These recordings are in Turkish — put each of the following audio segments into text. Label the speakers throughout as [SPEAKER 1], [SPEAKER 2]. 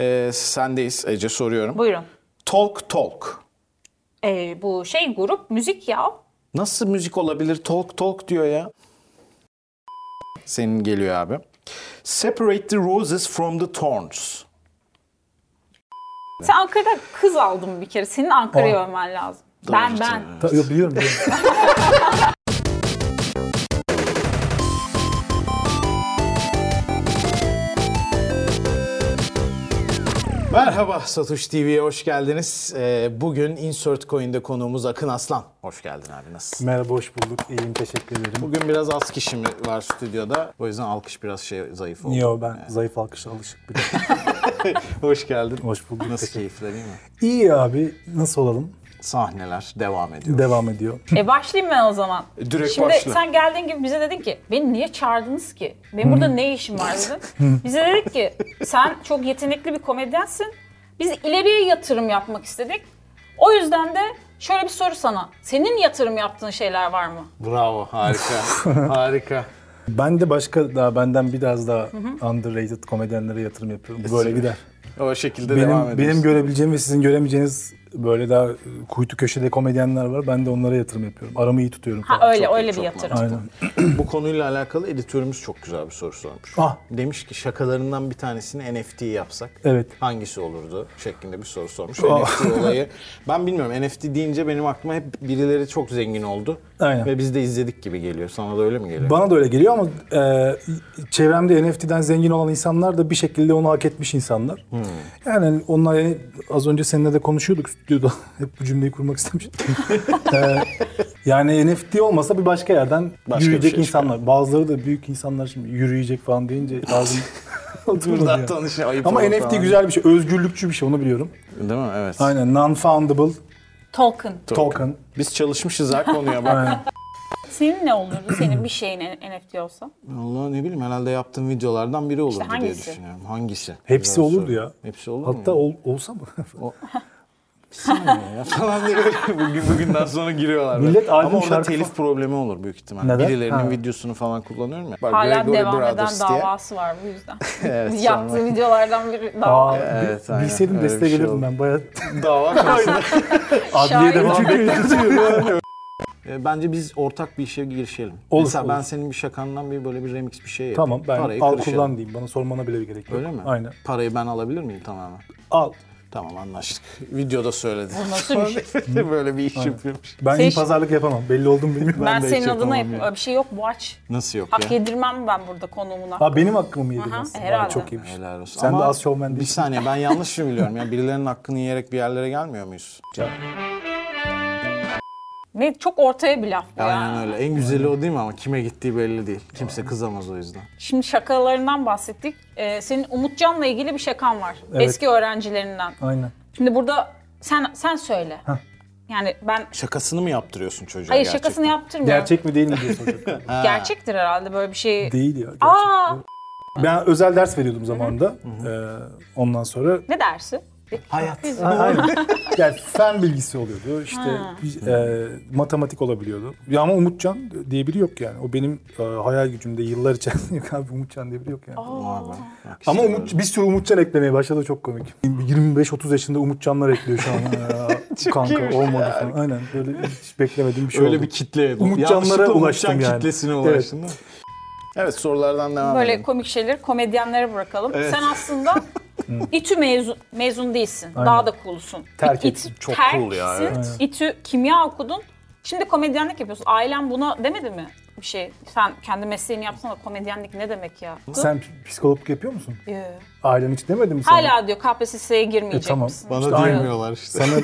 [SPEAKER 1] Ee, sendeyiz Ece soruyorum.
[SPEAKER 2] Buyurun.
[SPEAKER 1] Talk Talk.
[SPEAKER 2] Ee, bu şey grup müzik ya.
[SPEAKER 1] Nasıl müzik olabilir? Talk Talk diyor ya. Senin geliyor abi. Separate the roses from the thorns.
[SPEAKER 2] Sen Ankara'da kız aldın bir kere. Senin Ankara'ya övmen lazım. ben ben.
[SPEAKER 3] Ta- Yo, biliyorum. biliyorum.
[SPEAKER 1] Merhaba Satoş TV'ye hoş geldiniz. Ee, bugün Insert Coin'de konuğumuz Akın Aslan. Hoş geldin abi nasılsın?
[SPEAKER 3] Merhaba hoş bulduk. İyiyim teşekkür ederim.
[SPEAKER 1] Bugün biraz az kişi mi var stüdyoda. O yüzden alkış biraz şey zayıf oldu.
[SPEAKER 3] Yo ben zayıf alkışa alışık bir de.
[SPEAKER 1] Hoş geldin.
[SPEAKER 3] Hoş bulduk.
[SPEAKER 1] Nasıl
[SPEAKER 3] Teşekkür-
[SPEAKER 1] keyifler iyi mi?
[SPEAKER 3] İyi abi nasıl olalım?
[SPEAKER 1] Sahneler devam ediyor.
[SPEAKER 3] Devam ediyor.
[SPEAKER 2] E başlayayım ben o zaman.
[SPEAKER 1] E, direkt
[SPEAKER 2] Şimdi
[SPEAKER 1] başla.
[SPEAKER 2] sen geldiğin gibi bize dedin ki beni niye çağırdınız ki? Benim burada ne işim var dedin. bize dedik ki sen çok yetenekli bir komedyensin. Biz ileriye yatırım yapmak istedik. O yüzden de şöyle bir soru sana. Senin yatırım yaptığın şeyler var mı?
[SPEAKER 1] Bravo harika harika.
[SPEAKER 3] Ben de başka daha benden biraz daha underrated komedyenlere yatırım yapıyorum. Böyle gider.
[SPEAKER 1] O şekilde devam
[SPEAKER 3] Benim
[SPEAKER 1] ediyoruz.
[SPEAKER 3] benim görebileceğim ve sizin göremeyeceğiniz böyle daha e, kuytu köşede komedyenler var. Ben de onlara yatırım yapıyorum. Aramı iyi tutuyorum.
[SPEAKER 2] Ha
[SPEAKER 3] falan.
[SPEAKER 2] öyle
[SPEAKER 1] çok iyi,
[SPEAKER 2] öyle bir
[SPEAKER 1] çok
[SPEAKER 2] yatırım.
[SPEAKER 3] Aynen.
[SPEAKER 1] Bu konuyla alakalı editörümüz çok güzel bir soru sormuş.
[SPEAKER 3] Ah.
[SPEAKER 1] Demiş ki şakalarından bir tanesini NFT yapsak
[SPEAKER 3] Evet. Ah.
[SPEAKER 1] hangisi olurdu şeklinde bir soru sormuş. NFT olayı ben bilmiyorum NFT deyince benim aklıma hep birileri çok zengin oldu.
[SPEAKER 3] Aynen.
[SPEAKER 1] Ve biz de izledik gibi geliyor. Sana da öyle mi geliyor?
[SPEAKER 3] Bana da öyle geliyor ama e, çevremde NFT'den zengin olan insanlar da bir şekilde onu hak etmiş insanlar.
[SPEAKER 1] Hmm.
[SPEAKER 3] Yani onlar yani az önce seninle de konuşuyorduk stüdyoda. Hep bu cümleyi kurmak istemiştim. E, yani NFT olmasa bir başka yerden
[SPEAKER 1] Başka bir
[SPEAKER 3] yürüyecek
[SPEAKER 1] şey çıkar.
[SPEAKER 3] insanlar. Bazıları da büyük insanlar şimdi yürüyecek falan deyince lazım.
[SPEAKER 1] Buradan tanış- ayıp
[SPEAKER 3] Ama
[SPEAKER 1] olur
[SPEAKER 3] NFT
[SPEAKER 1] falan.
[SPEAKER 3] güzel bir şey. Özgürlükçü bir şey onu biliyorum.
[SPEAKER 1] Değil mi? Evet.
[SPEAKER 3] Aynen non-foundable
[SPEAKER 2] Token.
[SPEAKER 1] Token.
[SPEAKER 3] token.
[SPEAKER 1] Biz çalışmışız ha konuya bak.
[SPEAKER 3] Aynen.
[SPEAKER 2] Senin ne olurdu senin bir şeyin NFT olsa?
[SPEAKER 1] Allah ne bileyim herhalde yaptığım videolardan biri olurdu diye
[SPEAKER 2] hangisi?
[SPEAKER 1] düşünüyorum. Hangisi?
[SPEAKER 3] Hepsi
[SPEAKER 1] Güzel
[SPEAKER 3] olurdu
[SPEAKER 1] soru.
[SPEAKER 3] ya.
[SPEAKER 1] Hepsi olur mu?
[SPEAKER 3] Hatta ol- olsa mı?
[SPEAKER 1] saniye ya falan diye böyle bugün, bugünden sonra giriyorlar. böyle.
[SPEAKER 3] Millet albüm
[SPEAKER 1] Ama orada
[SPEAKER 3] şarkı
[SPEAKER 1] telif
[SPEAKER 3] falan-
[SPEAKER 1] problemi olur büyük ihtimalle.
[SPEAKER 3] Neden?
[SPEAKER 1] Birilerinin
[SPEAKER 3] Ha.
[SPEAKER 1] videosunu falan kullanıyorum ya. Bak,
[SPEAKER 2] Hala
[SPEAKER 1] Gregory
[SPEAKER 2] devam eden
[SPEAKER 1] Brothers diye.
[SPEAKER 2] davası var bu yüzden.
[SPEAKER 1] Evet,
[SPEAKER 2] Biz
[SPEAKER 1] sonra-
[SPEAKER 2] Yaptığı videolardan biri dava.
[SPEAKER 3] Aa,
[SPEAKER 1] Evet, aynen.
[SPEAKER 3] bilseydim
[SPEAKER 1] Öyle bir
[SPEAKER 3] desteğe
[SPEAKER 1] şey
[SPEAKER 3] gelirdim
[SPEAKER 1] oldu.
[SPEAKER 3] ben. Bayağı
[SPEAKER 1] Dava konusunda.
[SPEAKER 3] adliyede
[SPEAKER 2] Şair.
[SPEAKER 3] falan bekletiyorum.
[SPEAKER 1] E, Bence biz ortak bir işe girişelim.
[SPEAKER 3] Olur,
[SPEAKER 1] Mesela ben
[SPEAKER 3] olur.
[SPEAKER 1] senin bir şakandan bir böyle bir remix bir şey yapayım.
[SPEAKER 3] Tamam ben
[SPEAKER 1] Parayı
[SPEAKER 3] al
[SPEAKER 1] kırışalım.
[SPEAKER 3] kullan diyeyim. Bana sormana bile gerek yok.
[SPEAKER 1] Öyle mi?
[SPEAKER 3] Aynen.
[SPEAKER 1] Parayı ben alabilir miyim tamamen?
[SPEAKER 3] Al.
[SPEAKER 1] Tamam anlaştık. Videoda söyledi.
[SPEAKER 2] nasıl bir şey?
[SPEAKER 1] böyle bir iş yapıyormuş.
[SPEAKER 3] Ben
[SPEAKER 2] Sen
[SPEAKER 3] iyi
[SPEAKER 2] işte-
[SPEAKER 3] pazarlık yapamam. Belli oldum bilmiyorum.
[SPEAKER 2] Ben,
[SPEAKER 1] de hiç
[SPEAKER 2] senin adına
[SPEAKER 1] yapamam
[SPEAKER 2] yap-
[SPEAKER 1] ya.
[SPEAKER 2] bir şey yok bu aç.
[SPEAKER 1] Nasıl yok
[SPEAKER 2] Hak
[SPEAKER 1] ya?
[SPEAKER 2] yedirmem ben burada konuğuna.
[SPEAKER 3] Ha benim hakkımı mı yedin
[SPEAKER 2] Aha,
[SPEAKER 3] aslında?
[SPEAKER 2] herhalde.
[SPEAKER 3] Abi Çok iyi bir şey.
[SPEAKER 1] Helal olsun.
[SPEAKER 3] Sen
[SPEAKER 1] Ama
[SPEAKER 3] de az şovmen
[SPEAKER 1] Bir
[SPEAKER 3] değilsin.
[SPEAKER 1] saniye ben yanlış mı biliyorum? Yani birilerinin hakkını yiyerek bir yerlere gelmiyor muyuz?
[SPEAKER 2] Ne çok ortaya bir laf bu
[SPEAKER 1] Aynen
[SPEAKER 2] ya.
[SPEAKER 1] öyle. En güzeli o değil mi ama kime gittiği belli değil. Kimse kızamaz o yüzden.
[SPEAKER 2] Şimdi şakalarından bahsettik. Ee, senin Umutcan'la ilgili bir şakan var.
[SPEAKER 3] Evet.
[SPEAKER 2] Eski öğrencilerinden.
[SPEAKER 3] Aynen.
[SPEAKER 2] Şimdi burada sen sen söyle. Yani ben
[SPEAKER 1] Şakasını mı yaptırıyorsun çocuğa
[SPEAKER 2] hayır
[SPEAKER 1] gerçekten?
[SPEAKER 2] şakasını yaptırmıyorum.
[SPEAKER 3] Gerçek mi değil mi diye soracak.
[SPEAKER 2] Gerçektir herhalde böyle bir şey.
[SPEAKER 3] değil ya. gerçek.
[SPEAKER 2] Aa
[SPEAKER 3] Ben özel ders veriyordum zamanında. Ee, ondan sonra
[SPEAKER 2] ne dersi?
[SPEAKER 1] Hayat.
[SPEAKER 3] Aynen. yani fen bilgisi oluyordu. İşte e, matematik olabiliyordu. Ya ama Umutcan diye biri yok yani. O benim e, hayal gücümde yıllar içerisinde yok abi Umutcan diye biri yok yani.
[SPEAKER 1] Var be. Bak
[SPEAKER 3] Ama
[SPEAKER 1] işte
[SPEAKER 3] Umut, bir sürü Umutcan eklemeye başladı çok komik. 25-30 yaşında Umutcanlar ekliyor şu an. Ya, Kanka
[SPEAKER 1] iyiymiş
[SPEAKER 3] olmadı falan. Aynen böyle hiç beklemediğim bir şey
[SPEAKER 1] Öyle
[SPEAKER 3] oldu.
[SPEAKER 1] bir kitleye.
[SPEAKER 3] Umutcanlara
[SPEAKER 1] Yanlışlıkla
[SPEAKER 3] ulaştım
[SPEAKER 1] Umutcan
[SPEAKER 3] yani.
[SPEAKER 1] kitlesine
[SPEAKER 3] Evet.
[SPEAKER 1] ulaştın değil mi? Evet sorulardan devam
[SPEAKER 2] Böyle
[SPEAKER 1] edelim.
[SPEAKER 2] komik şeyleri komedyenlere bırakalım. Sen aslında İTÜ mezun, mezun değilsin.
[SPEAKER 3] Aynen.
[SPEAKER 2] Daha da coolsun.
[SPEAKER 3] Terk
[SPEAKER 2] İ-
[SPEAKER 3] ettim.
[SPEAKER 2] İTÜ-
[SPEAKER 1] Çok
[SPEAKER 2] terksin.
[SPEAKER 1] cool ya, evet.
[SPEAKER 2] İTÜ kimya okudun. Şimdi komedyenlik yapıyorsun. Ailen buna demedi mi bir şey? Sen kendi mesleğini yapsana komedyenlik ne demek ya?
[SPEAKER 3] Sen p- psikologluk yapıyor musun?
[SPEAKER 2] Ee,
[SPEAKER 3] Ailen hiç demedi mi sana?
[SPEAKER 2] Hala diyor KPSS'ye girmeyecek
[SPEAKER 3] E, tamam.
[SPEAKER 2] misin?
[SPEAKER 1] Bana
[SPEAKER 3] İşte aynı.
[SPEAKER 1] diyemiyorlar işte.
[SPEAKER 3] Sana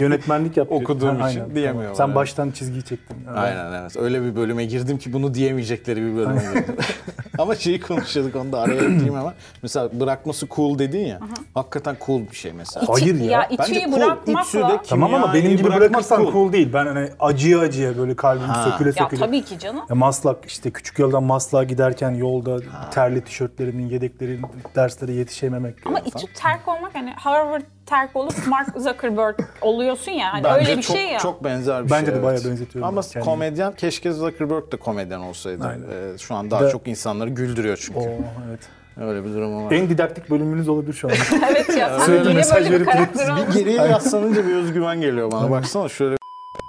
[SPEAKER 3] yönetmenlik yap. diyor.
[SPEAKER 1] Okuduğum için
[SPEAKER 3] tamam.
[SPEAKER 1] diyemiyorlar,
[SPEAKER 3] Sen
[SPEAKER 1] evet.
[SPEAKER 3] baştan çizgiyi çektin. Evet.
[SPEAKER 1] Aynen evet. Öyle bir bölüme girdim ki bunu diyemeyecekleri bir bölüme girdim. ama şeyi konuşuyorduk onu da araya ekleyeyim ama. Mesela bırakması cool dedin ya. hakikaten cool bir şey mesela.
[SPEAKER 2] İTÜ-
[SPEAKER 3] Hayır ya.
[SPEAKER 2] Ya
[SPEAKER 1] Bence
[SPEAKER 2] İTÜ'yü
[SPEAKER 1] cool. İTÜ'de
[SPEAKER 2] bırakmakla...
[SPEAKER 1] kim-
[SPEAKER 3] Tamam ama
[SPEAKER 1] Kimyayı
[SPEAKER 3] benim gibi
[SPEAKER 1] bırakmak
[SPEAKER 3] bırakırsan
[SPEAKER 1] cool.
[SPEAKER 3] cool. değil. Ben hani acıya acıya böyle kalbim söküle
[SPEAKER 2] Ya
[SPEAKER 3] söküle.
[SPEAKER 2] tabii ki canım.
[SPEAKER 3] Ya Maslak işte küçük yoldan Maslak'a giderken yolda terli tişörtlerimin yedekleri derslere yetişememek.
[SPEAKER 2] Ama
[SPEAKER 3] falan.
[SPEAKER 2] İTÜ terk olmak hani Harvard terk olup Mark Zuckerberg oluyorsun ya. Hani
[SPEAKER 1] Bence
[SPEAKER 2] öyle bir
[SPEAKER 1] çok,
[SPEAKER 2] şey ya.
[SPEAKER 1] çok benzer bir
[SPEAKER 3] Bence
[SPEAKER 1] şey.
[SPEAKER 3] de bayağı benzetiyorum
[SPEAKER 1] Ama
[SPEAKER 3] ben kendimi.
[SPEAKER 1] komedyen keşke Zuckerberg de komedyen olsaydı. Ee, şu an daha
[SPEAKER 3] De-
[SPEAKER 1] çok insanları güldürüyor çünkü.
[SPEAKER 3] Oo, evet.
[SPEAKER 1] Öyle bir durum var.
[SPEAKER 3] En didaktik bölümünüz olabilir şu an.
[SPEAKER 2] evet ya. Sen
[SPEAKER 3] Sürekli
[SPEAKER 2] yine
[SPEAKER 3] mesaj
[SPEAKER 2] böyle bir
[SPEAKER 3] verip
[SPEAKER 2] karakter
[SPEAKER 1] Bir
[SPEAKER 2] oldun.
[SPEAKER 1] geriye yaslanınca bir özgüven geliyor bana. Baksana şöyle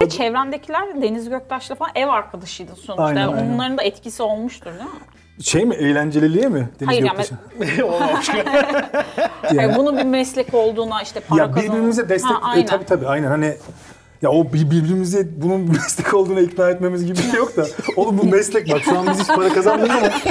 [SPEAKER 2] Çevrendekiler Deniz Göktaş'la falan ev arkadaşıydı sonuçta.
[SPEAKER 3] Aynen,
[SPEAKER 2] Yani
[SPEAKER 3] aynen.
[SPEAKER 2] Onların da etkisi olmuştur değil mi?
[SPEAKER 3] şey mi? Eğlenceliliğe mi? Deniz
[SPEAKER 2] Hayır,
[SPEAKER 3] Göktaş'a?
[SPEAKER 2] Yani bunun bir meslek olduğuna işte para
[SPEAKER 3] Ya
[SPEAKER 2] kazanma.
[SPEAKER 3] birbirimize destek...
[SPEAKER 2] Ha,
[SPEAKER 3] e,
[SPEAKER 2] aynen.
[SPEAKER 3] tabii tabii aynen hani... Ya o bir- birbirimize bunun bir meslek olduğuna ikna etmemiz gibi bir şey yok da. Oğlum bu meslek bak şu an biz hiç para kazanmıyoruz ama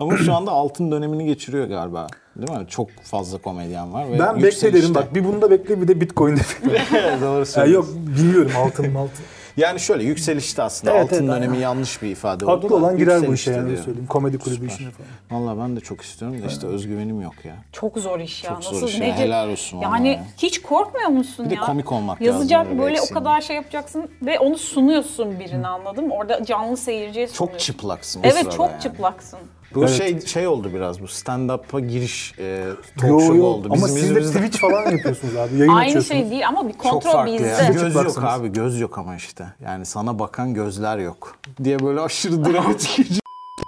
[SPEAKER 1] Ama şu anda altın dönemini geçiriyor galiba. Değil mi? Çok fazla komedyen var. Ve
[SPEAKER 3] ben
[SPEAKER 1] yükselişte.
[SPEAKER 3] bekle derim bak bir bunu da bekle bir de bitcoin de bekle.
[SPEAKER 1] Evet, Doğru
[SPEAKER 3] Ya
[SPEAKER 1] söylüyorsun.
[SPEAKER 3] yok bilmiyorum altın altın.
[SPEAKER 1] Yani şöyle yükselişte aslında
[SPEAKER 3] Evet,
[SPEAKER 1] altın
[SPEAKER 3] evet,
[SPEAKER 1] dönemi
[SPEAKER 3] aynen.
[SPEAKER 1] yanlış bir ifade oldu.
[SPEAKER 3] Haklı
[SPEAKER 1] da,
[SPEAKER 3] olan girer bu işe
[SPEAKER 1] yükselişte
[SPEAKER 3] yani öyle
[SPEAKER 1] diyor.
[SPEAKER 3] söyleyeyim. Komedi kulübü işine falan.
[SPEAKER 1] Vallahi ben de çok istiyorum da işte özgüvenim yok ya.
[SPEAKER 2] Çok zor iş ya.
[SPEAKER 1] Çok zor
[SPEAKER 2] Nasıl
[SPEAKER 1] iş ya.
[SPEAKER 2] nece-
[SPEAKER 1] Helal olsun vallahi
[SPEAKER 2] Yani
[SPEAKER 1] ya.
[SPEAKER 2] hiç korkmuyor musun
[SPEAKER 1] Bir de
[SPEAKER 2] ya?
[SPEAKER 1] komik olmak lazım
[SPEAKER 2] Yazacak
[SPEAKER 1] böyle bir
[SPEAKER 2] böyle o
[SPEAKER 1] eksiğin.
[SPEAKER 2] kadar şey yapacaksın ve onu sunuyorsun birine anladın mı? Orada canlı seyirciye sunuyorsun.
[SPEAKER 1] Çok çıplaksın. o
[SPEAKER 2] Evet
[SPEAKER 1] sırada
[SPEAKER 2] çok
[SPEAKER 1] yani.
[SPEAKER 2] çıplaksın.
[SPEAKER 1] Bu
[SPEAKER 3] Evet.
[SPEAKER 1] şey şey oldu biraz bu stand-up'a giriş e, talk
[SPEAKER 3] Yo
[SPEAKER 1] show
[SPEAKER 3] yo
[SPEAKER 1] oldu.
[SPEAKER 3] ama
[SPEAKER 1] Bizim
[SPEAKER 3] siz de
[SPEAKER 1] yüzümüzden-
[SPEAKER 3] Twitch falan yapıyorsunuz abi. Yayın
[SPEAKER 2] Aynı
[SPEAKER 3] açıyorsunuz.
[SPEAKER 2] şey değil ama bir
[SPEAKER 1] Çok
[SPEAKER 2] kontrol
[SPEAKER 1] farklı
[SPEAKER 2] bizde.
[SPEAKER 1] yani. Göz yok
[SPEAKER 3] Çıplaksınız.
[SPEAKER 1] abi göz yok ama işte. Yani sana bakan gözler yok diye böyle aşırı dramatik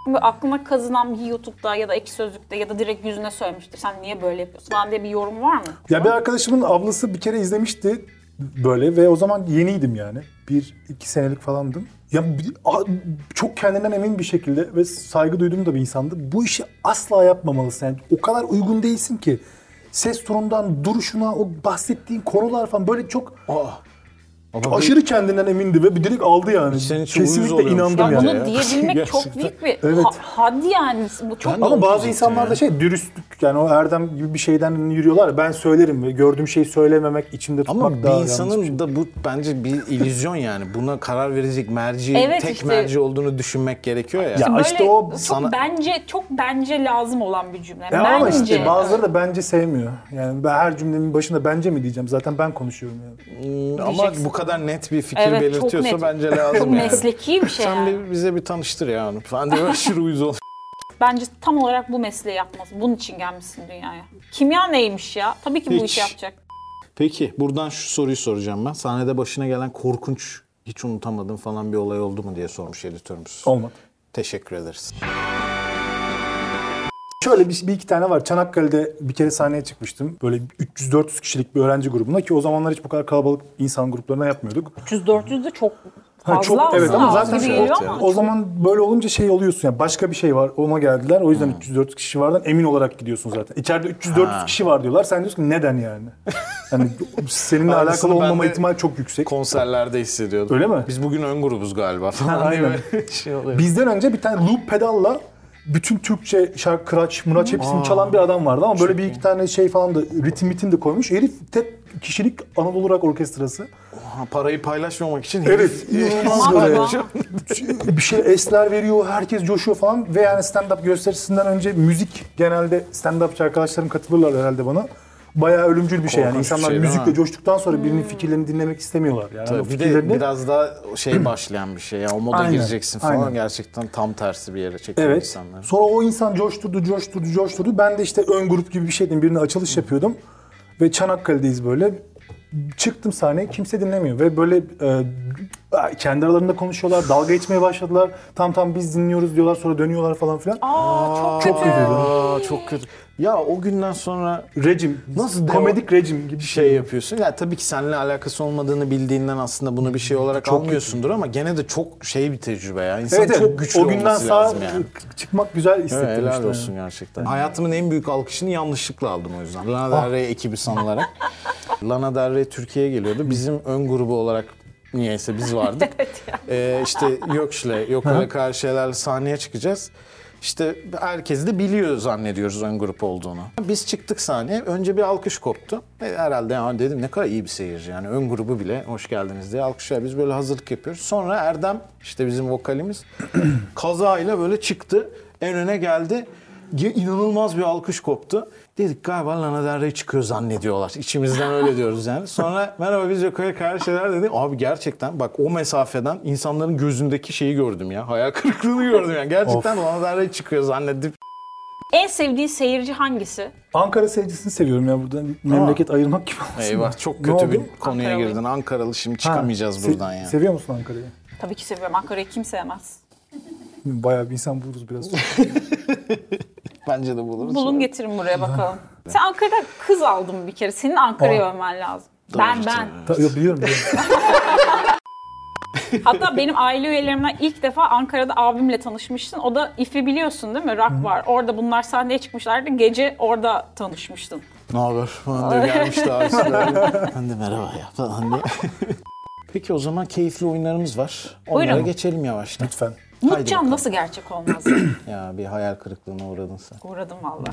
[SPEAKER 2] Şimdi Aklına kazınan bir YouTube'da ya da ek sözlükte ya da direkt yüzüne söylemiştir. Sen niye böyle yapıyorsun falan diye bir yorum var mı?
[SPEAKER 3] Ya bir arkadaşımın ablası bir kere izlemişti böyle ve o zaman yeniydim yani. Bir, iki senelik falandım. Ya bir- a- çok kendinden emin bir şekilde ve saygı duyduğum da bir insandı. Bu işi asla yapmamalısın. Yani o kadar uygun değilsin ki. Ses tonundan, duruşuna, o bahsettiğin konular falan böyle çok aşırı kendinden emindi ve bir direkt aldı yani.
[SPEAKER 1] Senin için uyuz
[SPEAKER 3] Kesinlikle
[SPEAKER 1] oluyormuş
[SPEAKER 2] Ya
[SPEAKER 3] inandım yani.
[SPEAKER 2] bunu
[SPEAKER 1] ya.
[SPEAKER 2] diyebilmek çok
[SPEAKER 1] Gerçekten.
[SPEAKER 2] büyük bir
[SPEAKER 3] Evet.
[SPEAKER 2] ha- haddi yani. Bu çok
[SPEAKER 3] Ama bazı
[SPEAKER 1] diyecektim
[SPEAKER 3] insanlarda
[SPEAKER 1] ya.
[SPEAKER 3] şey dürüstlük yani o erdem gibi bir şeyden yürüyorlar. ya, Ben söylerim ve gördüğüm şeyi söylememek içimde tutmak
[SPEAKER 1] Ama
[SPEAKER 3] daha
[SPEAKER 1] bir
[SPEAKER 3] yanlış bir şey.
[SPEAKER 1] insanın da bu bence bir illüzyon yani. Buna karar verecek merci,
[SPEAKER 2] Evet
[SPEAKER 1] tek
[SPEAKER 2] işte.
[SPEAKER 1] merci olduğunu düşünmek gerekiyor ya.
[SPEAKER 3] Ya
[SPEAKER 2] böyle
[SPEAKER 3] işte o
[SPEAKER 2] çok
[SPEAKER 1] sana-
[SPEAKER 2] bence çok bence lazım olan bir cümle.
[SPEAKER 3] Ya
[SPEAKER 2] bence.
[SPEAKER 3] ama işte bazıları da bence sevmiyor. Yani ben her cümlemin başında bence mi diyeceğim? Zaten ben konuşuyorum yani.
[SPEAKER 1] Ama
[SPEAKER 2] diyeceksin.
[SPEAKER 1] bu kadar net bir fikir
[SPEAKER 2] Evet, çok net.
[SPEAKER 1] belirtiyorsa bence
[SPEAKER 2] Çok
[SPEAKER 1] lazım yani.
[SPEAKER 2] mesleki bir şey.
[SPEAKER 1] Sen
[SPEAKER 2] yani.
[SPEAKER 1] bir, bize bir tanıştır ya onu. Ben de aşırı uyuz oldum.
[SPEAKER 2] Bence tam olarak bu mesleği yapması. Bunun için gelmişsin dünyaya. Kimya neymiş ya? Tabii ki bu
[SPEAKER 1] Hiç.
[SPEAKER 2] işi yapacak.
[SPEAKER 1] Peki buradan şu soruyu soracağım ben. Sahnede başına gelen korkunç, hiç unutamadığın falan bir olay oldu mu diye sormuş editörümüz.
[SPEAKER 3] Olmadı.
[SPEAKER 1] Teşekkür ederiz.
[SPEAKER 3] Şöyle bir, bir iki tane var. Çanakkale'de bir kere sahneye çıkmıştım. Böyle 300-400 kişilik bir öğrenci grubuna ki o zamanlar hiç bu kadar kalabalık insan gruplarına yapmıyorduk.
[SPEAKER 2] 300-400 de çok fazla
[SPEAKER 3] Ha, çok evet ama
[SPEAKER 2] aslında
[SPEAKER 3] zaten
[SPEAKER 2] gibi
[SPEAKER 1] çok-
[SPEAKER 2] geliyor
[SPEAKER 1] evet
[SPEAKER 2] ama
[SPEAKER 3] o zaman böyle olunca şey oluyorsun yani başka bir şey var ona geldiler o yüzden 304 kişi vardan emin olarak gidiyorsun zaten. İçeride 300-400
[SPEAKER 1] Hmm. Ha.
[SPEAKER 3] kişi var diyorlar sen diyorsun ki neden yani? Yani seninle
[SPEAKER 1] Aynısını
[SPEAKER 3] alakalı
[SPEAKER 1] ben
[SPEAKER 3] olmama
[SPEAKER 1] de-
[SPEAKER 3] ihtimali çok yüksek.
[SPEAKER 1] Konserlerde hissediyordum.
[SPEAKER 3] Öyle mi?
[SPEAKER 1] Biz bugün ön grubuz galiba falan
[SPEAKER 3] Ha,
[SPEAKER 1] diye
[SPEAKER 3] aynen.
[SPEAKER 1] böyle şey oluyor.
[SPEAKER 3] Bizden önce bir tane loop pedalla bütün Türkçe şarkı, kıraç, mıraç hepsini çalan bir adam vardı ama böyle bir iki tane şey falan da ritim ritim de koymuş. Herif tek kişilik Anadolu Rock Orkestrası.
[SPEAKER 1] Ha, parayı paylaşmamak için
[SPEAKER 3] Evet. inanılmaz
[SPEAKER 2] Aman
[SPEAKER 3] böyle.
[SPEAKER 2] Allah'ım.
[SPEAKER 3] bir şey esler veriyor, herkes coşuyor falan ve yani stand-up gösterisinden önce müzik genelde stand-upçı arkadaşlarım katılırlar herhalde bana. Bayağı ölümcül bir şey yani.
[SPEAKER 1] Korkunç bir
[SPEAKER 3] İnsanlar
[SPEAKER 1] şey değil
[SPEAKER 3] müzikle
[SPEAKER 1] mi? Hmm.
[SPEAKER 3] coştuktan sonra birinin fikirlerini dinlemek istemiyorlar. Yani o
[SPEAKER 1] Tabii bir de
[SPEAKER 3] fikirlerini-
[SPEAKER 1] biraz daha şey başlayan bir şey ya. O moda
[SPEAKER 3] Aynen,
[SPEAKER 1] gireceksin falan
[SPEAKER 3] aynen.
[SPEAKER 1] gerçekten tam tersi bir yere çekiyor
[SPEAKER 3] Evet.
[SPEAKER 1] insanları.
[SPEAKER 3] Sonra o insan coşturdu, coşturdu, coşturdu. Ben de işte ön grup gibi bir şeydim. Birine açılış yapıyordum. Ve Çanakkale'deyiz böyle. Çıktım sahneye kimse dinlemiyor ve böyle e, kendi aralarında konuşuyorlar, dalga geçmeye başladılar. Tam tam biz dinliyoruz diyorlar sonra dönüyorlar falan filan.
[SPEAKER 2] Aa, çok
[SPEAKER 3] Çok kötü.
[SPEAKER 1] Aa, çok kötü. Ya o günden sonra
[SPEAKER 3] Rejim.
[SPEAKER 1] Nasıl devam-
[SPEAKER 3] Komedik rejim gibi bir şey.
[SPEAKER 1] şey yapıyorsun. Ya tabii ki seninle alakası olmadığını bildiğinden aslında bunu bir şey olarak almıyorsundur ama gene de çok şey bir tecrübe ya. İnsan
[SPEAKER 3] Evet,
[SPEAKER 1] çok güçlü
[SPEAKER 3] o günden
[SPEAKER 1] olması
[SPEAKER 3] sağ
[SPEAKER 1] lazım yani.
[SPEAKER 3] çıkmak güzel
[SPEAKER 1] Evet,
[SPEAKER 3] hissettirmişti.
[SPEAKER 1] helal
[SPEAKER 3] yani.
[SPEAKER 1] olsun gerçekten. Hayatımın en büyük alkışını yanlışlıkla aldım o yüzden. Lana Del Rey ekibi sanılarak. Lana Del Rey Türkiye'ye geliyordu. Bizim ön grubu olarak niyeyse biz vardık. ee, işte Yokş'le, Yok'la karşı şeylerle sahneye çıkacağız. İşte herkes de biliyor zannediyoruz ön grup olduğunu. Biz çıktık sahneye. Önce bir alkış koptu. E, herhalde ya dedim ne kadar iyi bir seyirci yani. Ön grubu bile hoş geldiniz diye alkışlar. Biz böyle hazırlık yapıyoruz. Sonra Erdem işte bizim vokalimiz kazayla böyle çıktı. En öne geldi. Ge- İnanılmaz bir alkış koptu. Dedik galiba Lana Del Rey çıkıyor zannediyorlar. İçimizden öyle diyoruz yani. Sonra merhaba biz Joker'e karşı şeyler dedi. Abi gerçekten bak o mesafeden insanların gözündeki şeyi gördüm ya. Hayal kırıklığını gördüm yani. Gerçekten Lana Del Rey çıkıyor zannedip.
[SPEAKER 2] En sevdiği seyirci hangisi?
[SPEAKER 3] Ankara seyircisini seviyorum ya burada memleket ayırmak gibi olmasın.
[SPEAKER 1] Eyvah çok
[SPEAKER 3] Ne
[SPEAKER 1] kötü bir
[SPEAKER 3] oldu?
[SPEAKER 1] konuya
[SPEAKER 2] Ankaralı.
[SPEAKER 1] girdin. Ankaralı şimdi çıkamayacağız
[SPEAKER 3] Ha, se-
[SPEAKER 1] buradan ya.
[SPEAKER 3] Seviyor musun Ankara'yı?
[SPEAKER 2] Tabii ki seviyorum. Ankara'yı kim sevmez?
[SPEAKER 3] Bayağı bir insan buluruz biraz.
[SPEAKER 1] Bence de buluruz.
[SPEAKER 2] Bulun getirin buraya bakalım. Sen Ankara'da kız aldın bir kere. Senin Ankara'ya övmen lazım. ben ben.
[SPEAKER 3] Ta- Yok biliyorum. biliyorum.
[SPEAKER 2] Hatta benim aile üyelerimden ilk defa Ankara'da abimle tanışmıştın. O da İF'i biliyorsun değil mi? Rock var. Orada bunlar sahneye çıkmışlardı. Gece orada tanışmıştın.
[SPEAKER 1] Ne haber falan diye gelmişti abisi böyle. ben de merhaba ya falan diye. Peki o zaman keyifli oyunlarımız var. Onlara
[SPEAKER 2] Buyurun.
[SPEAKER 1] geçelim yavaştan.
[SPEAKER 3] Lütfen.
[SPEAKER 1] Haydi
[SPEAKER 2] Mutcan
[SPEAKER 1] bakalım.
[SPEAKER 2] nasıl gerçek olmaz?
[SPEAKER 1] Ya bir hayal kırıklığına uğradın sen.
[SPEAKER 2] Uğradım valla.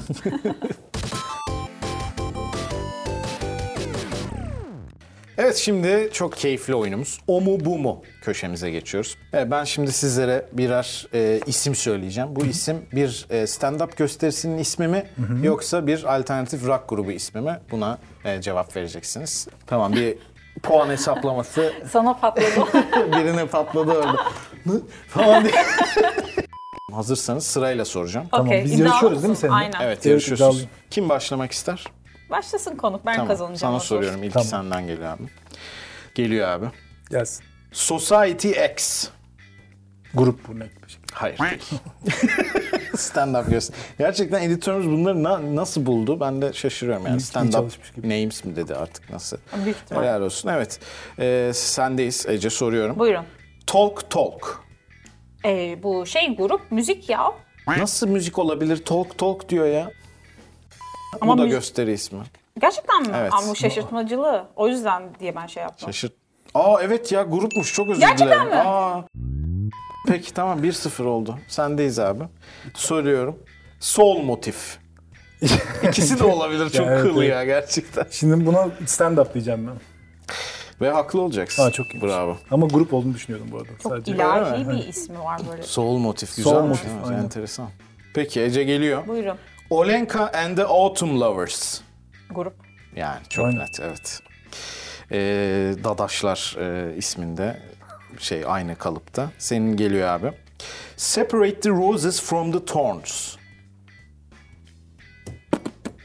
[SPEAKER 1] Evet şimdi çok keyifli oyunumuz O mu bu mu köşemize geçiyoruz. E, ben şimdi sizlere birer e, isim söyleyeceğim. Bu isim bir e, stand-up gösterisinin ismi mi yoksa bir alternatif rock grubu ismi mi? Buna e, cevap vereceksiniz. Tamam bir puan hesaplaması
[SPEAKER 2] Sana patladı.
[SPEAKER 1] birine patladı orada. Ne? falan diye. Hazırsanız sırayla soracağım.
[SPEAKER 2] tamam
[SPEAKER 3] biz yarışıyoruz değil mi seninle?
[SPEAKER 2] Aynen.
[SPEAKER 1] Evet
[SPEAKER 3] iddialıyım.
[SPEAKER 1] yarışıyorsunuz. Kim başlamak ister?
[SPEAKER 2] Başlasın konuk ben
[SPEAKER 1] Tamam,
[SPEAKER 2] kazanacağım.
[SPEAKER 1] Sana
[SPEAKER 2] o soruyu.
[SPEAKER 1] soruyorum. İlki
[SPEAKER 3] Tamam.
[SPEAKER 1] senden geliyor abi. Geliyor abi.
[SPEAKER 3] Gelsin.
[SPEAKER 1] Society X.
[SPEAKER 3] Grup bu net bir şekilde.
[SPEAKER 1] Hayır değil. Stand-up göster. Gerçekten editörümüz bunları na- nasıl buldu? Ben de şaşırıyorum yani.
[SPEAKER 3] İyi- iyi
[SPEAKER 1] Stand-up
[SPEAKER 3] çalışmış gibi.
[SPEAKER 1] names mi dedi artık nasıl?
[SPEAKER 2] Büyük ihtimal.
[SPEAKER 1] Helal olsun. Evet. Ee, sendeyiz Ece soruyorum.
[SPEAKER 2] Buyurun.
[SPEAKER 1] Talk Talk.
[SPEAKER 2] Ee, bu şey grup müzik ya.
[SPEAKER 1] Nasıl müzik olabilir? Talk Talk diyor ya.
[SPEAKER 2] Ama
[SPEAKER 1] Bu da
[SPEAKER 2] müzik-
[SPEAKER 1] gösteri ismi.
[SPEAKER 2] Gerçekten mi?
[SPEAKER 1] Evet.
[SPEAKER 2] Ama bu şaşırtmacılığı. O yüzden diye ben şey yaptım.
[SPEAKER 1] Şaşırt. Aa evet ya grupmuş çok özür
[SPEAKER 2] Gerçekten
[SPEAKER 1] dilerim.
[SPEAKER 2] mi?
[SPEAKER 1] Aa. Peki tamam 1-0 oldu. Sendeyiz abi. Soruyorum. Sol motif. İkisi de olabilir çok
[SPEAKER 3] evet,
[SPEAKER 1] kıl
[SPEAKER 3] evet.
[SPEAKER 1] ya gerçekten.
[SPEAKER 3] Şimdi buna stand-up diyeceğim ben.
[SPEAKER 1] Ve haklı olacaksın.
[SPEAKER 3] Aa, çok iyi.
[SPEAKER 1] Bravo.
[SPEAKER 3] Ama grup olduğunu düşünüyordum bu arada.
[SPEAKER 2] Çok
[SPEAKER 3] Sadece.
[SPEAKER 2] ilahi bir ismi var böyle.
[SPEAKER 1] Sol motif
[SPEAKER 3] Sol
[SPEAKER 1] güzel.
[SPEAKER 3] motif, aynen.
[SPEAKER 1] Enteresan. Peki Ece geliyor.
[SPEAKER 2] Buyurun
[SPEAKER 1] Olenka and the Autumn Lovers.
[SPEAKER 2] grup.
[SPEAKER 1] Yani çok
[SPEAKER 3] Aynen.
[SPEAKER 1] net evet. Ee, Dadaşlar e, isminde şey aynı kalıpta. Senin geliyor abi. Separate the roses from the thorns.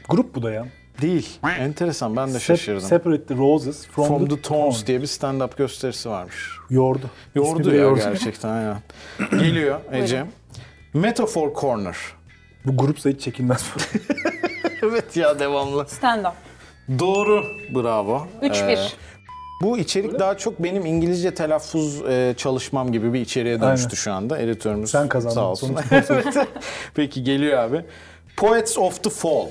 [SPEAKER 3] Grup bu da ya.
[SPEAKER 1] Değil. Enteresan ben de
[SPEAKER 3] Sep-
[SPEAKER 1] şaşırdım.
[SPEAKER 3] Separate the roses from,
[SPEAKER 1] from the
[SPEAKER 3] thorns.
[SPEAKER 1] thorns diye bir stand-up gösterisi varmış.
[SPEAKER 3] Yordu. İsmi
[SPEAKER 1] Yordu
[SPEAKER 3] de
[SPEAKER 1] ya
[SPEAKER 3] yordu.
[SPEAKER 1] gerçekten aynen. Geliyor Ece. Metaphor Corner.
[SPEAKER 3] Bu grupsa hiç çekilmez.
[SPEAKER 1] evet ya devamlı.
[SPEAKER 2] Stand up.
[SPEAKER 1] Doğru. Bravo.
[SPEAKER 2] 3-1.
[SPEAKER 1] Ee, Bu içerik daha çok benim İngilizce telaffuz e, çalışmam gibi bir içeriğe dönüştü
[SPEAKER 3] Aynen.
[SPEAKER 1] şu anda. Editörümüz
[SPEAKER 3] Sen kazandın.
[SPEAKER 1] sağ olsun.
[SPEAKER 3] Sonuç
[SPEAKER 1] Evet. Peki geliyor abi. Poets of the Fall.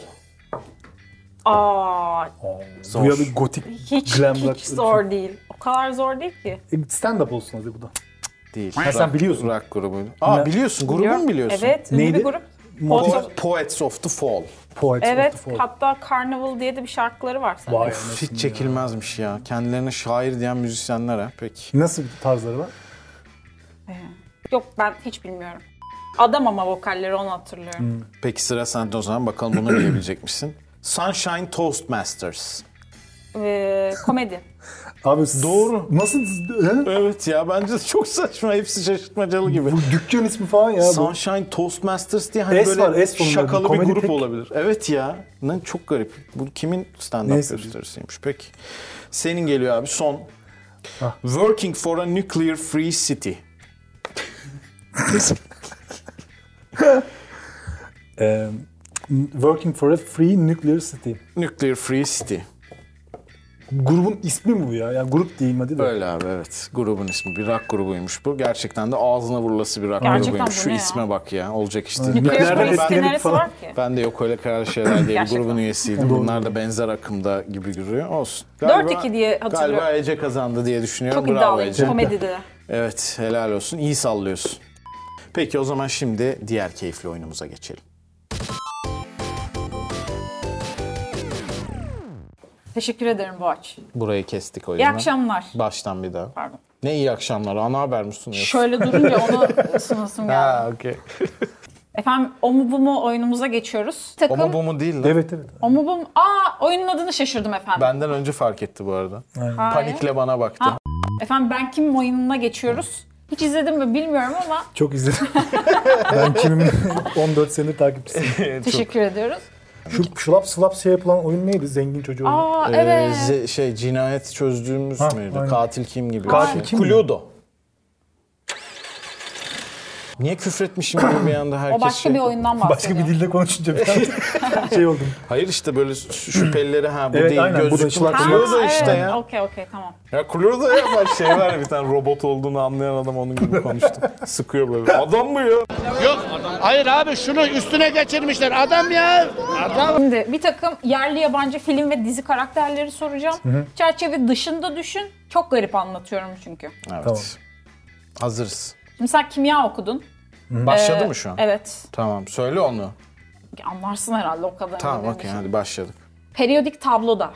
[SPEAKER 2] Aa,
[SPEAKER 1] Zor.
[SPEAKER 3] bu ya bir gotik
[SPEAKER 2] hiç
[SPEAKER 3] glam rock.
[SPEAKER 2] hiç zor değil. O kadar zor değil ki.
[SPEAKER 3] E, Stand-up olsun hadi bu da.
[SPEAKER 1] Değil.
[SPEAKER 3] sen biliyorsun.
[SPEAKER 1] Rock grubu. Aa
[SPEAKER 3] Ne?
[SPEAKER 1] biliyorsun. Grubu mu biliyorsun?
[SPEAKER 2] Evet, ünlü bir
[SPEAKER 3] Neydi?
[SPEAKER 2] grup.
[SPEAKER 3] Mod-
[SPEAKER 2] Poets
[SPEAKER 1] Po-
[SPEAKER 2] of-
[SPEAKER 1] Poets of the Fall.
[SPEAKER 3] Poets
[SPEAKER 2] Evet,
[SPEAKER 3] of the Fall.
[SPEAKER 2] hatta Carnival diye de bir şarkıları var sanırım.
[SPEAKER 3] Vay
[SPEAKER 1] Of,
[SPEAKER 3] anasını
[SPEAKER 1] hiç
[SPEAKER 3] ya.
[SPEAKER 1] çekilmezmiş ya. Kendilerine şair diyen müzisyenlere. Peki.
[SPEAKER 3] Nasıl bir tarzları var?
[SPEAKER 2] Yok ben hiç bilmiyorum. Adam ama vokalleri onu hatırlıyorum.
[SPEAKER 1] Peki sıra sende o zaman. Bakalım bunu bilebilecek misin? Sunshine Toastmasters.
[SPEAKER 3] Hmm.
[SPEAKER 2] Ee, komedi.
[SPEAKER 3] Abi s-
[SPEAKER 1] Doğru.
[SPEAKER 3] Nasıl? he?
[SPEAKER 1] Evet ya bence de çok saçma. Hepsi şaşırtmacalı gibi.
[SPEAKER 3] Bu dükkan ismi falan ya. bu.
[SPEAKER 1] Sunshine Toastmasters diye hani
[SPEAKER 3] S
[SPEAKER 1] böyle
[SPEAKER 3] var, S sonunda.
[SPEAKER 1] şakalı bir
[SPEAKER 3] Komedi
[SPEAKER 1] grup
[SPEAKER 3] tek-
[SPEAKER 1] olabilir. Evet ya. Lan çok garip. Bu kimin stand-up
[SPEAKER 3] Neyse.
[SPEAKER 1] gösterisiymiş peki. Senin geliyor abi son.
[SPEAKER 3] Ah.
[SPEAKER 1] Working for a nuclear free city.
[SPEAKER 3] Ee, working for a Free Nuclear City.
[SPEAKER 1] Nuclear free city.
[SPEAKER 3] Grubun ismi mi bu ya? Yani grup diyeyim hadi de.
[SPEAKER 1] Böyle abi evet. Grubun ismi bir rock grubuymuş bu. Gerçekten de ağzına vurulası bir rock
[SPEAKER 2] Gerçekten
[SPEAKER 1] grubuymuş.
[SPEAKER 2] bu
[SPEAKER 1] Şu
[SPEAKER 2] ne ya?
[SPEAKER 1] isme bak ya. Olacak işte.
[SPEAKER 3] Aynen.
[SPEAKER 1] Ben-
[SPEAKER 3] Nereden
[SPEAKER 2] Nereden
[SPEAKER 3] etkilendik
[SPEAKER 2] neresi
[SPEAKER 3] falan?
[SPEAKER 2] var ki?
[SPEAKER 1] Ben de yok öyle karar şeyler diye bir
[SPEAKER 2] Gerçekten.
[SPEAKER 1] grubun üyesiydim. Bunlar da benzer akımda gibi duruyor. Olsun. Galiba-
[SPEAKER 2] 4-2 diye hatırlıyorum.
[SPEAKER 1] Galiba Ece kazandı diye düşünüyorum.
[SPEAKER 2] Çok
[SPEAKER 1] Bravo
[SPEAKER 2] iddialıyım
[SPEAKER 1] Ece.
[SPEAKER 2] komedide de.
[SPEAKER 1] Evet helal olsun. İyi sallıyorsun. Peki o zaman şimdi diğer keyifli oyunumuza geçelim.
[SPEAKER 2] Teşekkür ederim Boğaç.
[SPEAKER 1] Burayı kestik o
[SPEAKER 2] İyi
[SPEAKER 1] yüzden.
[SPEAKER 2] akşamlar.
[SPEAKER 1] Baştan bir daha.
[SPEAKER 2] Pardon.
[SPEAKER 1] Ne iyi akşamlar. Ana haber mi sunuyorsun?
[SPEAKER 2] Şöyle durunca onu sunasım geldi.
[SPEAKER 1] Ha okey.
[SPEAKER 2] Efendim o mu bu mu oyunumuza geçiyoruz. Takım
[SPEAKER 1] Ama bu mu değil lan.
[SPEAKER 3] Evet evet.
[SPEAKER 2] o mu bu mu? Aa oyunun adını şaşırdım efendim.
[SPEAKER 1] Benden önce fark etti bu arada.
[SPEAKER 2] Hayır.
[SPEAKER 1] Panikle bana baktı.
[SPEAKER 2] Ha. Efendim ben kim oyununa geçiyoruz. Hiç izledim mi bilmiyorum ama
[SPEAKER 3] Çok izledim. ben kimim? 14 senedir takipçisiyim.
[SPEAKER 2] teşekkür ediyoruz.
[SPEAKER 3] Şu şulap slap şey yapılan oyun neydi? Zengin çocuğu. oyunu.
[SPEAKER 2] Aa
[SPEAKER 1] Ee,
[SPEAKER 2] evet.
[SPEAKER 1] ze- şey cinayet çözdüğümüz
[SPEAKER 3] Ha,
[SPEAKER 1] müydü?
[SPEAKER 3] aynen.
[SPEAKER 1] şey. Katil kim gibi. bir
[SPEAKER 3] Katil
[SPEAKER 1] şey.
[SPEAKER 3] kim mi?
[SPEAKER 1] Cluedo. Niye küfretmişim gibi bir anda herkes
[SPEAKER 2] O başka
[SPEAKER 1] şey-
[SPEAKER 2] bir oyundan bahsediyor.
[SPEAKER 3] Başka bir dilde konuşunca bir an şey oldum.
[SPEAKER 1] Hayır işte böyle şü- şüphelileri ha bu
[SPEAKER 3] Evet,
[SPEAKER 1] değil
[SPEAKER 3] aynen, bu da
[SPEAKER 1] gözlük.
[SPEAKER 3] çıplak
[SPEAKER 2] Ha,
[SPEAKER 1] Cluedo
[SPEAKER 2] evet.
[SPEAKER 1] işte ya.
[SPEAKER 2] Okey okey tamam.
[SPEAKER 1] Ya Cluedo ya var şey var ya, bir tane robot olduğunu anlayan adam onun gibi konuştu. Sıkıyor böyle. Adam mı ya?
[SPEAKER 4] Yok. Hayır abi şunu üstüne geçirmişler. Adam ya. Adam.
[SPEAKER 2] Şimdi bir takım yerli yabancı film ve dizi karakterleri soracağım. Çerçeve dışında düşün. Çok garip anlatıyorum çünkü.
[SPEAKER 1] Evet.
[SPEAKER 3] Tamam.
[SPEAKER 1] Hazırız.
[SPEAKER 2] Şimdi sen kimya okudun.
[SPEAKER 1] Başladı
[SPEAKER 2] Ee,
[SPEAKER 1] mı şu an?
[SPEAKER 2] Evet.
[SPEAKER 1] Tamam söyle onu.
[SPEAKER 2] Anlarsın herhalde o kadar.
[SPEAKER 1] Tamam
[SPEAKER 2] önemli bir
[SPEAKER 1] okey
[SPEAKER 2] şey.
[SPEAKER 1] hadi başladık.
[SPEAKER 2] Periyodik tabloda.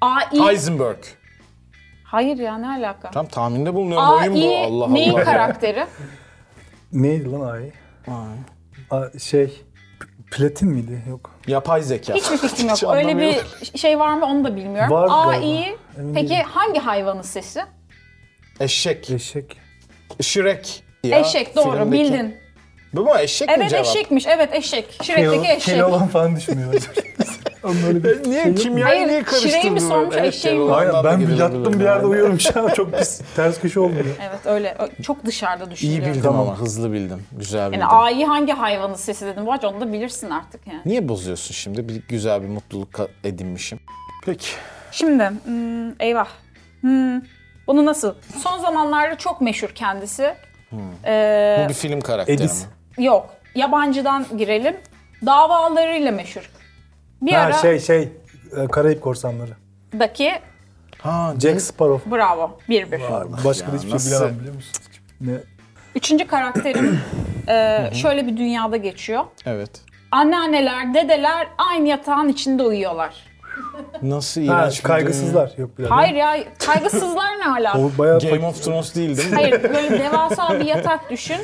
[SPEAKER 2] AI.
[SPEAKER 1] Heisenberg.
[SPEAKER 2] Hayır ya ne alaka?
[SPEAKER 1] Tam tahminde bulunuyorum.
[SPEAKER 2] AI
[SPEAKER 1] Oyun bu. Allah Allah.
[SPEAKER 2] neyin karakteri?
[SPEAKER 3] Neydi lan ay? Ay. Şey, p- platin miydi? Yok.
[SPEAKER 1] Yapay zeka.
[SPEAKER 2] Hiçbir fikrim yok.
[SPEAKER 1] Hiç
[SPEAKER 2] Öyle bir
[SPEAKER 1] anlamıyorum.
[SPEAKER 2] şey var mı onu da bilmiyorum.
[SPEAKER 3] Var galiba.
[SPEAKER 2] AI.
[SPEAKER 3] Emin
[SPEAKER 2] Peki
[SPEAKER 3] değilim.
[SPEAKER 2] hangi hayvanın sesi?
[SPEAKER 1] Eşek.
[SPEAKER 3] Eşek.
[SPEAKER 1] Şirek. Ya,
[SPEAKER 2] eşek doğru
[SPEAKER 1] filmdeki-
[SPEAKER 2] bildin.
[SPEAKER 1] Bu mu eşek mi
[SPEAKER 2] Evet
[SPEAKER 1] cevap?
[SPEAKER 2] eşekmiş. Evet eşek. Şirekteki eşek.
[SPEAKER 3] Kelo olan falan düşmüyor. Onun öyle bir
[SPEAKER 1] Niye
[SPEAKER 3] şey yok mu?
[SPEAKER 1] kimyayı
[SPEAKER 2] Hayır,
[SPEAKER 1] niye
[SPEAKER 2] şireyi mi
[SPEAKER 1] karıştırdın?
[SPEAKER 2] sormuş, eşeği mi?
[SPEAKER 3] Aynen ben bir
[SPEAKER 1] Gelebilir,
[SPEAKER 3] yattım bir yerde
[SPEAKER 1] aynen.
[SPEAKER 3] uyuyorum şu an. Çok pis. Ters köşe olmuyor.
[SPEAKER 2] Evet öyle. Ö- Çok dışarıda
[SPEAKER 1] İyi
[SPEAKER 2] düşünüyorum.
[SPEAKER 1] bildim
[SPEAKER 3] Tamam.
[SPEAKER 1] ama hızlı bildim. Güzel bildim.
[SPEAKER 2] Yani AI hangi hayvanın sesi dedim. Bu arada onu da bilirsin artık yani.
[SPEAKER 1] Niye bozuyorsun şimdi? Bir güzel bir mutluluk ka- edinmişim. Peki.
[SPEAKER 2] Şimdi hmm, eyvah. Hmm, bunu nasıl? Son zamanlarda çok meşhur kendisi. Ee,
[SPEAKER 1] Bu bir film karakteri
[SPEAKER 3] Edis.
[SPEAKER 1] mi?
[SPEAKER 2] yok. Yabancıdan girelim. Davalarıyla meşhur. Bir
[SPEAKER 3] Ha
[SPEAKER 2] aradaki
[SPEAKER 3] şey şey. e, Karayip korsanları.
[SPEAKER 1] Ha,
[SPEAKER 3] Jack Sparrow.
[SPEAKER 2] bravo. Bir bir.
[SPEAKER 3] Başka
[SPEAKER 1] ya,
[SPEAKER 3] da hiçbir şey
[SPEAKER 1] nasıl?
[SPEAKER 3] bilemem biliyor musun? Ne?
[SPEAKER 2] Üçüncü karakterim e, şöyle bir dünyada geçiyor.
[SPEAKER 1] Evet.
[SPEAKER 2] Anneanneler, dedeler aynı yatağın içinde uyuyorlar.
[SPEAKER 1] Nasıl
[SPEAKER 3] Ha,
[SPEAKER 1] iğrenç bir
[SPEAKER 3] kaygısızlar. Yok bilemem.
[SPEAKER 2] Hayır ya kaygısızlar ne hala?
[SPEAKER 3] O bayağı
[SPEAKER 1] dünya. Game
[SPEAKER 3] fak-
[SPEAKER 1] of Thrones değil değil mi?
[SPEAKER 2] Hayır böyle devasa bir yatak düşün.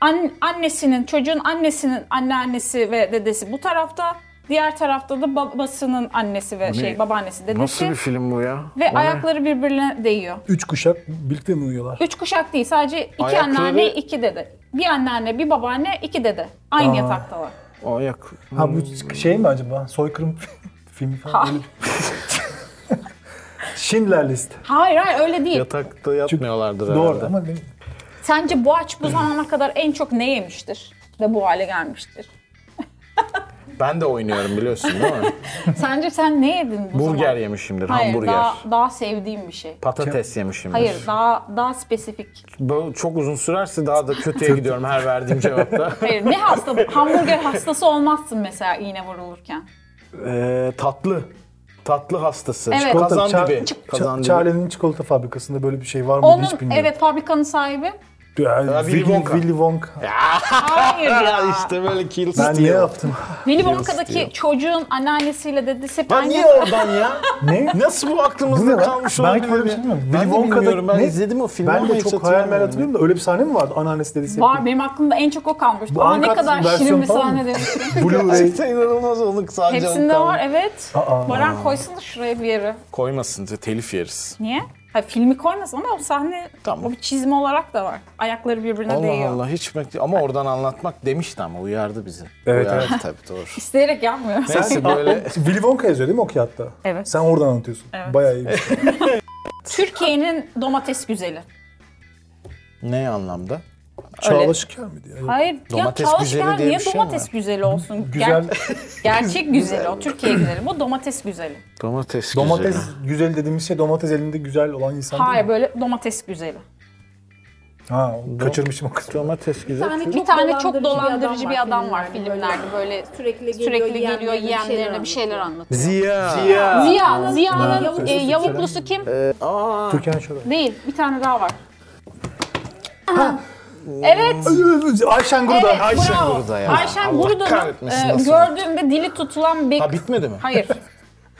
[SPEAKER 2] An- annesinin, çocuğun annesinin anneannesi ve dedesi bu tarafta. Diğer tarafta da babasının annesi ve şey babaannesi dedesi.
[SPEAKER 1] film bu ya?
[SPEAKER 2] ve ayakları birbirine değiyor.
[SPEAKER 3] Üç kuşak birlikte mi uyuyorlar?
[SPEAKER 2] Üç kuşak değil sadece iki
[SPEAKER 1] Ayakları-
[SPEAKER 2] anneanne, iki dede. Bir anneanne, bir babaanne, iki dede. Aynı
[SPEAKER 3] Aa.
[SPEAKER 2] yataktalar.
[SPEAKER 1] Ayak.
[SPEAKER 3] Ha bu şey mi acaba? Soykırım filmi falan.
[SPEAKER 2] Hayır.
[SPEAKER 3] Schindler List.
[SPEAKER 2] Hayır hayır öyle değil.
[SPEAKER 1] Yatakta yatmıyorlardır herhalde.
[SPEAKER 3] Doğru ama benim-
[SPEAKER 2] Sence Boğaç bu zamana kadar en çok ne yemiştir de bu hale gelmiştir?
[SPEAKER 1] Ben de oynuyorum biliyorsun değil mi?
[SPEAKER 2] Sence sen ne yedin bu zaman?
[SPEAKER 1] Burger yemişimdir,
[SPEAKER 2] Hayır,
[SPEAKER 1] hamburger.
[SPEAKER 2] Daha, daha sevdiğim bir şey.
[SPEAKER 1] Patates yemişimdir.
[SPEAKER 2] Hayır, daha daha spesifik.
[SPEAKER 1] Bu çok uzun sürerse daha da kötüye gidiyorum her verdiğim cevapta.
[SPEAKER 2] Hayır, ne hasta? hamburger hastası olmazsın mesela iğne vurulurken.
[SPEAKER 1] Ee, tatlı. Tatlı hastası.
[SPEAKER 2] Evet.
[SPEAKER 1] Kazan
[SPEAKER 3] Çar-
[SPEAKER 1] dibi.
[SPEAKER 3] Ç-
[SPEAKER 1] Kazan dibi.
[SPEAKER 3] Charlie'nin çikolata fabrikasında böyle bir şey var mıydı hiç
[SPEAKER 2] Onun
[SPEAKER 3] bilmiyorum.
[SPEAKER 2] evet fabrikanın sahibi.
[SPEAKER 3] Yani
[SPEAKER 1] Ya, Willy
[SPEAKER 3] Willy,
[SPEAKER 1] Wonka.
[SPEAKER 3] Willy Wonka.
[SPEAKER 2] Hayır
[SPEAKER 1] Ya
[SPEAKER 2] ya.
[SPEAKER 1] işte böyle kill
[SPEAKER 3] Ben ne
[SPEAKER 1] steal.
[SPEAKER 3] yaptım?
[SPEAKER 2] Willy Wonka'daki çocuğun anneannesiyle dedesi hep
[SPEAKER 1] Ya
[SPEAKER 2] aynı.
[SPEAKER 1] niye oradan ya?
[SPEAKER 3] ne?
[SPEAKER 1] Nasıl bu
[SPEAKER 3] Bu ne
[SPEAKER 1] aklımızda
[SPEAKER 3] lan?
[SPEAKER 1] kalmış
[SPEAKER 3] Ben
[SPEAKER 1] olabilir?
[SPEAKER 3] böyle bir
[SPEAKER 1] ya?
[SPEAKER 3] şey bilmiyorum.
[SPEAKER 1] Ben
[SPEAKER 3] Willy
[SPEAKER 1] de
[SPEAKER 3] Wonka da-
[SPEAKER 1] bilmiyorum. Ben
[SPEAKER 3] ne?
[SPEAKER 1] izledim o filmi
[SPEAKER 3] Ben
[SPEAKER 1] ama
[SPEAKER 3] de
[SPEAKER 1] hiç
[SPEAKER 3] çok hayal
[SPEAKER 1] hatırlamıyorum
[SPEAKER 3] meyal
[SPEAKER 1] yani.
[SPEAKER 3] hatırlıyorum da öyle bir sahne mi vardı? Anneannesi dedesi.
[SPEAKER 2] Var benim aklımda en çok o kalmış.
[SPEAKER 3] Bu
[SPEAKER 2] Aa ne
[SPEAKER 3] uncut
[SPEAKER 2] kadar şirin
[SPEAKER 3] versiyon
[SPEAKER 2] bir
[SPEAKER 3] falan mı?
[SPEAKER 2] sahne demiştim.
[SPEAKER 3] Blu-ray.
[SPEAKER 1] Gerçekten inanılmaz onu sadece
[SPEAKER 2] Hepsinde
[SPEAKER 1] onu
[SPEAKER 2] var
[SPEAKER 1] kaldı.
[SPEAKER 2] evet.
[SPEAKER 3] Aa.
[SPEAKER 2] Baran koysun da şuraya bir yere.
[SPEAKER 1] Koymasın telif yeriz.
[SPEAKER 2] Niye? Ha, filmi koymasın ama o sahne
[SPEAKER 1] Tamam.
[SPEAKER 2] o bir çizme olarak da var. Ayakları birbirine
[SPEAKER 1] Allah
[SPEAKER 2] değiyor.
[SPEAKER 1] Allah hiç bek- ama oradan anlatmak demişti ama uyardı bizi.
[SPEAKER 3] Evet,
[SPEAKER 1] uyardı tabii doğru.
[SPEAKER 2] İsteyerek yapmıyoruz.
[SPEAKER 1] Neyse böyle
[SPEAKER 3] Willy Wonka yazıyor değil mi o kağıtta?
[SPEAKER 2] Evet.
[SPEAKER 3] Sen oradan anlatıyorsun. Bayağı iyi. şey.
[SPEAKER 2] Türkiye'nin domates güzeli.
[SPEAKER 1] ne anlamda?
[SPEAKER 3] Çağla Şiker miydi? ya?
[SPEAKER 2] Hayır.
[SPEAKER 1] Domates
[SPEAKER 2] ya Çağla
[SPEAKER 1] güzeli
[SPEAKER 2] Şikel
[SPEAKER 1] diye
[SPEAKER 2] niye
[SPEAKER 1] bir şey mi
[SPEAKER 2] domates
[SPEAKER 1] var?
[SPEAKER 2] güzeli olsun?
[SPEAKER 3] Güzel.
[SPEAKER 2] Ger- gerçek güzeli o. Türkiye güzeli. Bu domates güzeli.
[SPEAKER 1] Domates
[SPEAKER 3] Domates
[SPEAKER 1] güzeli.
[SPEAKER 3] güzel dediğimiz şey domates elinde güzel olan insan değil
[SPEAKER 2] Hayır
[SPEAKER 3] mi?
[SPEAKER 2] böyle domates güzeli.
[SPEAKER 3] Ha, kaçırmışım o kısmı.
[SPEAKER 1] Domates güzel.
[SPEAKER 5] tane
[SPEAKER 2] Hani Bir tane çok dolandırıcı bir adam var filmlerde böyle
[SPEAKER 5] Sürekli geliyor,
[SPEAKER 2] sürekli geliyor
[SPEAKER 5] yiyenlerine bir
[SPEAKER 2] yiyenlerine bir
[SPEAKER 5] şeyler
[SPEAKER 2] şeyler anlatıyor.
[SPEAKER 1] Ziya.
[SPEAKER 2] Ziya, Ziya'nın
[SPEAKER 3] Yavuklusu
[SPEAKER 2] e,
[SPEAKER 3] kimse
[SPEAKER 2] yavuklusu kim? E,
[SPEAKER 3] Türkan Şoray.
[SPEAKER 2] Değil. Bir tane daha var. Evet.
[SPEAKER 3] Ayşen Gruda.
[SPEAKER 2] Evet,
[SPEAKER 3] Ayşen
[SPEAKER 2] bravo.
[SPEAKER 1] Gruda ya.
[SPEAKER 2] Ayşen
[SPEAKER 1] Allah
[SPEAKER 2] Gruda'nın
[SPEAKER 1] kahretmesin,
[SPEAKER 2] e,
[SPEAKER 1] nasıl?
[SPEAKER 2] gördüğümde dili tutulan bir...
[SPEAKER 1] Ha bitmedi mi?
[SPEAKER 2] Hayır.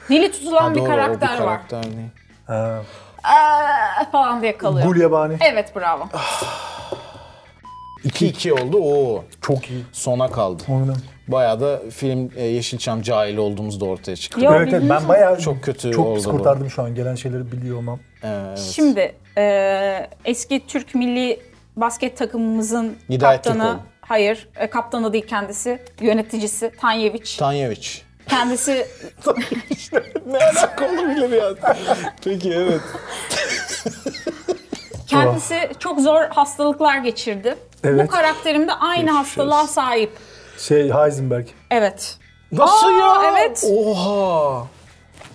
[SPEAKER 2] Dili tutulan
[SPEAKER 1] Ha,
[SPEAKER 2] bir
[SPEAKER 1] doğru, o
[SPEAKER 2] karakter
[SPEAKER 1] bir
[SPEAKER 2] var.
[SPEAKER 1] karakter ne?
[SPEAKER 3] Ha,
[SPEAKER 2] Aa, falan diye kalıyor.
[SPEAKER 3] Gul Yabani.
[SPEAKER 2] Evet bravo.
[SPEAKER 1] Ah. 2-2 oldu. Oo.
[SPEAKER 3] Çok iyi.
[SPEAKER 1] Sona kaldı.
[SPEAKER 3] Oynadım.
[SPEAKER 1] Bayağı da film e, Yeşilçam cahili olduğumuz da ortaya çıktı.
[SPEAKER 2] Yo,
[SPEAKER 3] Evet, evet, ben
[SPEAKER 2] bilmiyorum.
[SPEAKER 3] bayağı
[SPEAKER 1] Çok kötü
[SPEAKER 3] çok
[SPEAKER 1] oldu
[SPEAKER 3] pis
[SPEAKER 1] bu.
[SPEAKER 3] kurtardım şu an gelen şeyleri biliyor olmam.
[SPEAKER 2] Şimdi e, eski Türk milli basket takımımızın
[SPEAKER 1] Hidayet
[SPEAKER 2] kaptanı,
[SPEAKER 1] Türkoğlu.
[SPEAKER 2] hayır e, kaptanı değil kendisi, yöneticisi Tanyeviç.
[SPEAKER 1] Tanyeviç.
[SPEAKER 2] kendisi
[SPEAKER 1] Ne alaka olabilir ya? Peki evet.
[SPEAKER 2] kendisi çok zor hastalıklar geçirdi.
[SPEAKER 3] Evet.
[SPEAKER 2] Bu karakterim de aynı hastalığa sahip.
[SPEAKER 3] Şey Heisenberg.
[SPEAKER 2] Evet.
[SPEAKER 1] Nasıl
[SPEAKER 2] Aa,
[SPEAKER 1] ya?
[SPEAKER 2] evet.
[SPEAKER 1] Oha.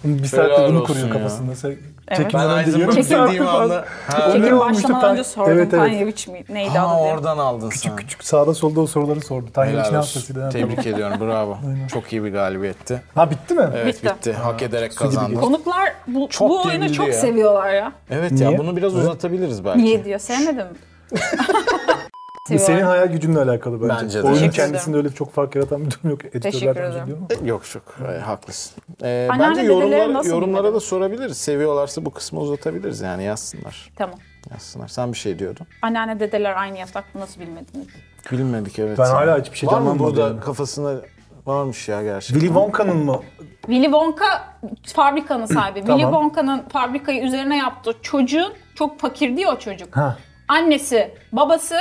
[SPEAKER 3] Bir saatte
[SPEAKER 1] Helal
[SPEAKER 3] bunu
[SPEAKER 1] olsun
[SPEAKER 3] kuruyor
[SPEAKER 1] ya.
[SPEAKER 3] kafasında. Sen
[SPEAKER 2] Evet.
[SPEAKER 1] Ben
[SPEAKER 3] çekimden de
[SPEAKER 1] Heisenberg
[SPEAKER 3] diyorum. bir saat
[SPEAKER 1] dediğim
[SPEAKER 3] falan.
[SPEAKER 1] anda. Ha,
[SPEAKER 3] Öyle
[SPEAKER 2] Çekim
[SPEAKER 3] olmuştu,
[SPEAKER 2] başlamadan
[SPEAKER 3] Tan-
[SPEAKER 2] önce sordum
[SPEAKER 3] Evet, evet.
[SPEAKER 2] Tanyeviç mi? Neydi
[SPEAKER 1] ha,
[SPEAKER 2] adı diye.
[SPEAKER 1] oradan aldın sen.
[SPEAKER 3] Küçük sağda solda o soruları sordu. Tanya
[SPEAKER 1] Helal
[SPEAKER 3] için
[SPEAKER 1] olsun.
[SPEAKER 3] hastasıydı. ha.
[SPEAKER 1] Tebrik ediyorum. Bravo. Çok iyi bir galibiyetti.
[SPEAKER 3] Ha bitti mi?
[SPEAKER 1] Evet
[SPEAKER 2] Bitti.
[SPEAKER 1] bitti. Hak ederek kazandın.
[SPEAKER 2] Konuklar bu,
[SPEAKER 1] Çok
[SPEAKER 2] bu oyunu
[SPEAKER 1] gerildi
[SPEAKER 2] çok
[SPEAKER 1] ya.
[SPEAKER 2] seviyorlar ya.
[SPEAKER 1] Evet
[SPEAKER 3] Niye?
[SPEAKER 1] ya bunu biraz uzatabiliriz belki.
[SPEAKER 2] Niye diyor? Sevmedin mi?
[SPEAKER 3] Bu senin
[SPEAKER 2] Seviyorlar.
[SPEAKER 3] hayal gücünle alakalı bence.
[SPEAKER 1] Bence de.
[SPEAKER 3] Oyunun
[SPEAKER 1] Teşekkür
[SPEAKER 3] kendisinde öyle çok fark yaratan bir durum yok. Editörlerden
[SPEAKER 2] Teşekkür
[SPEAKER 3] özür
[SPEAKER 2] ederim.
[SPEAKER 3] diliyorum.
[SPEAKER 1] Yok çok Ay, e, haklısın. Ee,
[SPEAKER 2] Anneanne
[SPEAKER 1] bence
[SPEAKER 2] dedeleri
[SPEAKER 1] yorumlara,
[SPEAKER 2] nasıl
[SPEAKER 1] yorumlara
[SPEAKER 2] dinledi?
[SPEAKER 1] da sorabiliriz. Seviyorlarsa bu kısmı uzatabiliriz yani yazsınlar.
[SPEAKER 2] Tamam.
[SPEAKER 1] Yazsınlar. Sen bir şey diyordun.
[SPEAKER 2] Anneanne dedeler aynı yatakta nasıl bilmediniz?
[SPEAKER 1] Bilmedik evet.
[SPEAKER 3] Ben
[SPEAKER 1] ya.
[SPEAKER 3] hala hiçbir şeyden
[SPEAKER 1] Var mı
[SPEAKER 3] anlamadım
[SPEAKER 1] burada
[SPEAKER 3] yani.
[SPEAKER 1] kafasında varmış ya gerçekten.
[SPEAKER 3] Willy Wonka'nın mı?
[SPEAKER 2] Willy Wonka fabrikanın sahibi.
[SPEAKER 3] Tamam.
[SPEAKER 2] Willy Wonka'nın fabrikayı üzerine yaptığı çocuğun çok fakir diyor o çocuk.
[SPEAKER 3] Ha.
[SPEAKER 2] Annesi, babası,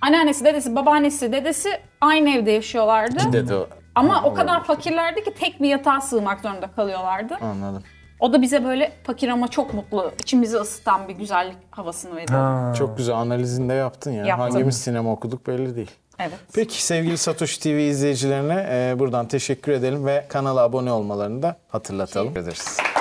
[SPEAKER 2] anneannesi, dedesi, babaannesi, dedesi aynı evde yaşıyorlardı.
[SPEAKER 1] Dedi o.
[SPEAKER 2] Ama o kadar fakirlerdi ki tek bir yatağa sığmak zorunda kalıyorlardı.
[SPEAKER 1] Anladım.
[SPEAKER 2] O da bize böyle fakir ama çok mutlu, içimizi ısıtan bir güzellik havasını veriyor.
[SPEAKER 3] Ha.
[SPEAKER 1] Çok güzel analizini de yaptın ya.
[SPEAKER 2] Yaptım.
[SPEAKER 1] Hangimiz sinema okuduk belli değil.
[SPEAKER 2] Evet.
[SPEAKER 1] Peki sevgili Satoshi TV izleyicilerine e, buradan teşekkür edelim ve kanala abone olmalarını da hatırlatalım. Ederiz.